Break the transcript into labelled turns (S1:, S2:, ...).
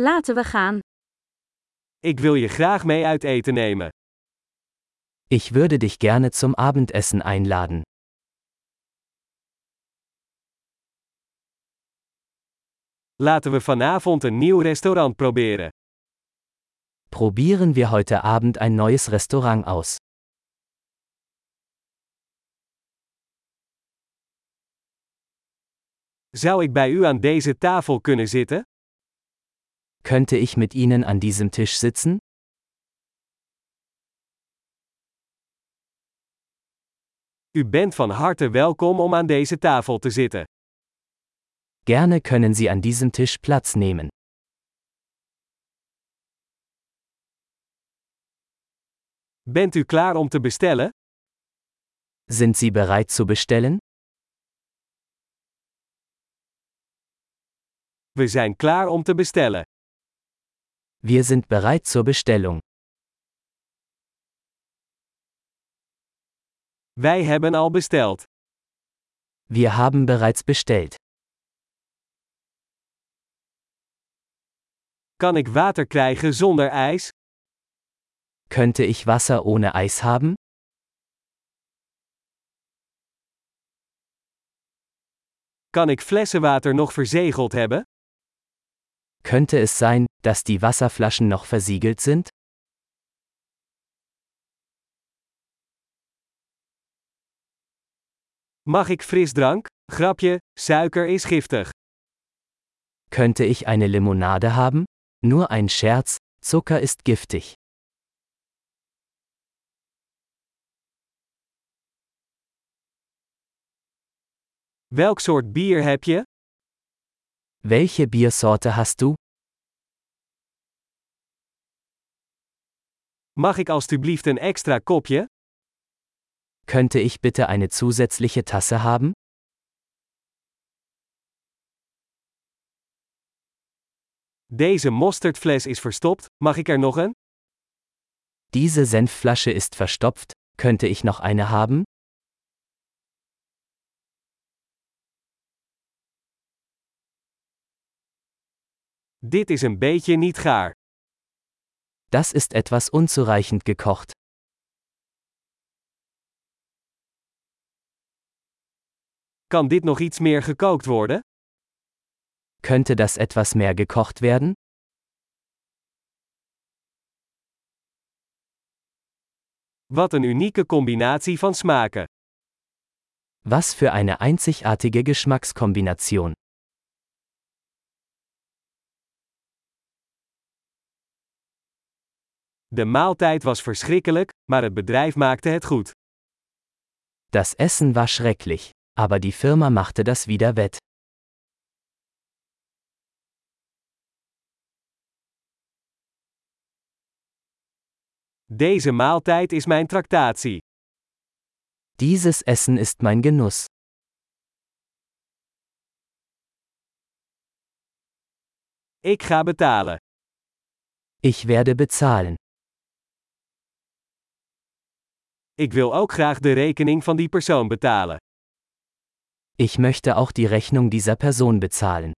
S1: Laten we gaan.
S2: Ik wil je graag mee uit eten nemen.
S3: Ich würde dich gerne zum Abendessen einladen.
S2: Laten we vanavond een nieuw restaurant proberen.
S3: Probieren wir heute Abend ein neues Restaurant aus.
S2: Zou ik bij u aan deze tafel kunnen zitten?
S3: Könnte ich mit Ihnen an diesem Tisch sitzen?
S2: U bent van harte welkom om aan deze tafel te zitten.
S3: Gerne können Sie an diesem Tisch Platz nehmen.
S2: Bent u klaar om te bestellen?
S3: Sind Sie bereit zu bestellen?
S2: We zijn klaar om te bestellen.
S3: Wir sind bereit zur Bestellung.
S2: Wij hebben al besteld.
S3: Wir haben bereits bestellt.
S2: Kan ik water krijgen zonder ijs?
S3: Könnte ich Wasser ohne Eis haben?
S2: Kan ik flessenwater nog verzegeld hebben?
S3: Könnte es sein, dass die Wasserflaschen noch versiegelt sind?
S2: Mag ik frisdrank? Grapje, suiker is giftig.
S3: Könnte ich eine Limonade haben? Nur ein Scherz, Zucker ist giftig.
S2: Welk soort bier heb je?
S3: Welche Biersorte hast du?
S2: Mag ik alstublieft een extra kopje?
S3: Könnte ich bitte eine zusätzliche Tasse haben?
S2: Deze mosterdfles is verstopt, mag ik er nog een?
S3: Diese Senfflasche ist verstopft, könnte ich noch eine haben?
S2: Dit is een beetje niet gaar.
S3: Das ist etwas unzureichend gekocht.
S2: Kan dit nog iets meer gekookt worden?
S3: Könnte das etwas mehr gekocht werden?
S2: Wat een unieke combinatie van smaken.
S3: Was für eine einzigartige Geschmackskombination.
S2: De maaltijd was verschrikkelijk, maar het bedrijf maakte het goed.
S3: Das Essen war schrecklich, aber die Firma machte das wieder wett.
S2: Deze maaltijd is mijn tractatie.
S3: Dieses Essen ist mein Genuss.
S2: Ik ga betalen.
S3: Ich werde bezahlen.
S2: Ik wil ook graag de rekening van die persoon betalen.
S3: Ich möchte auch die Rechnung dieser Person bezahlen.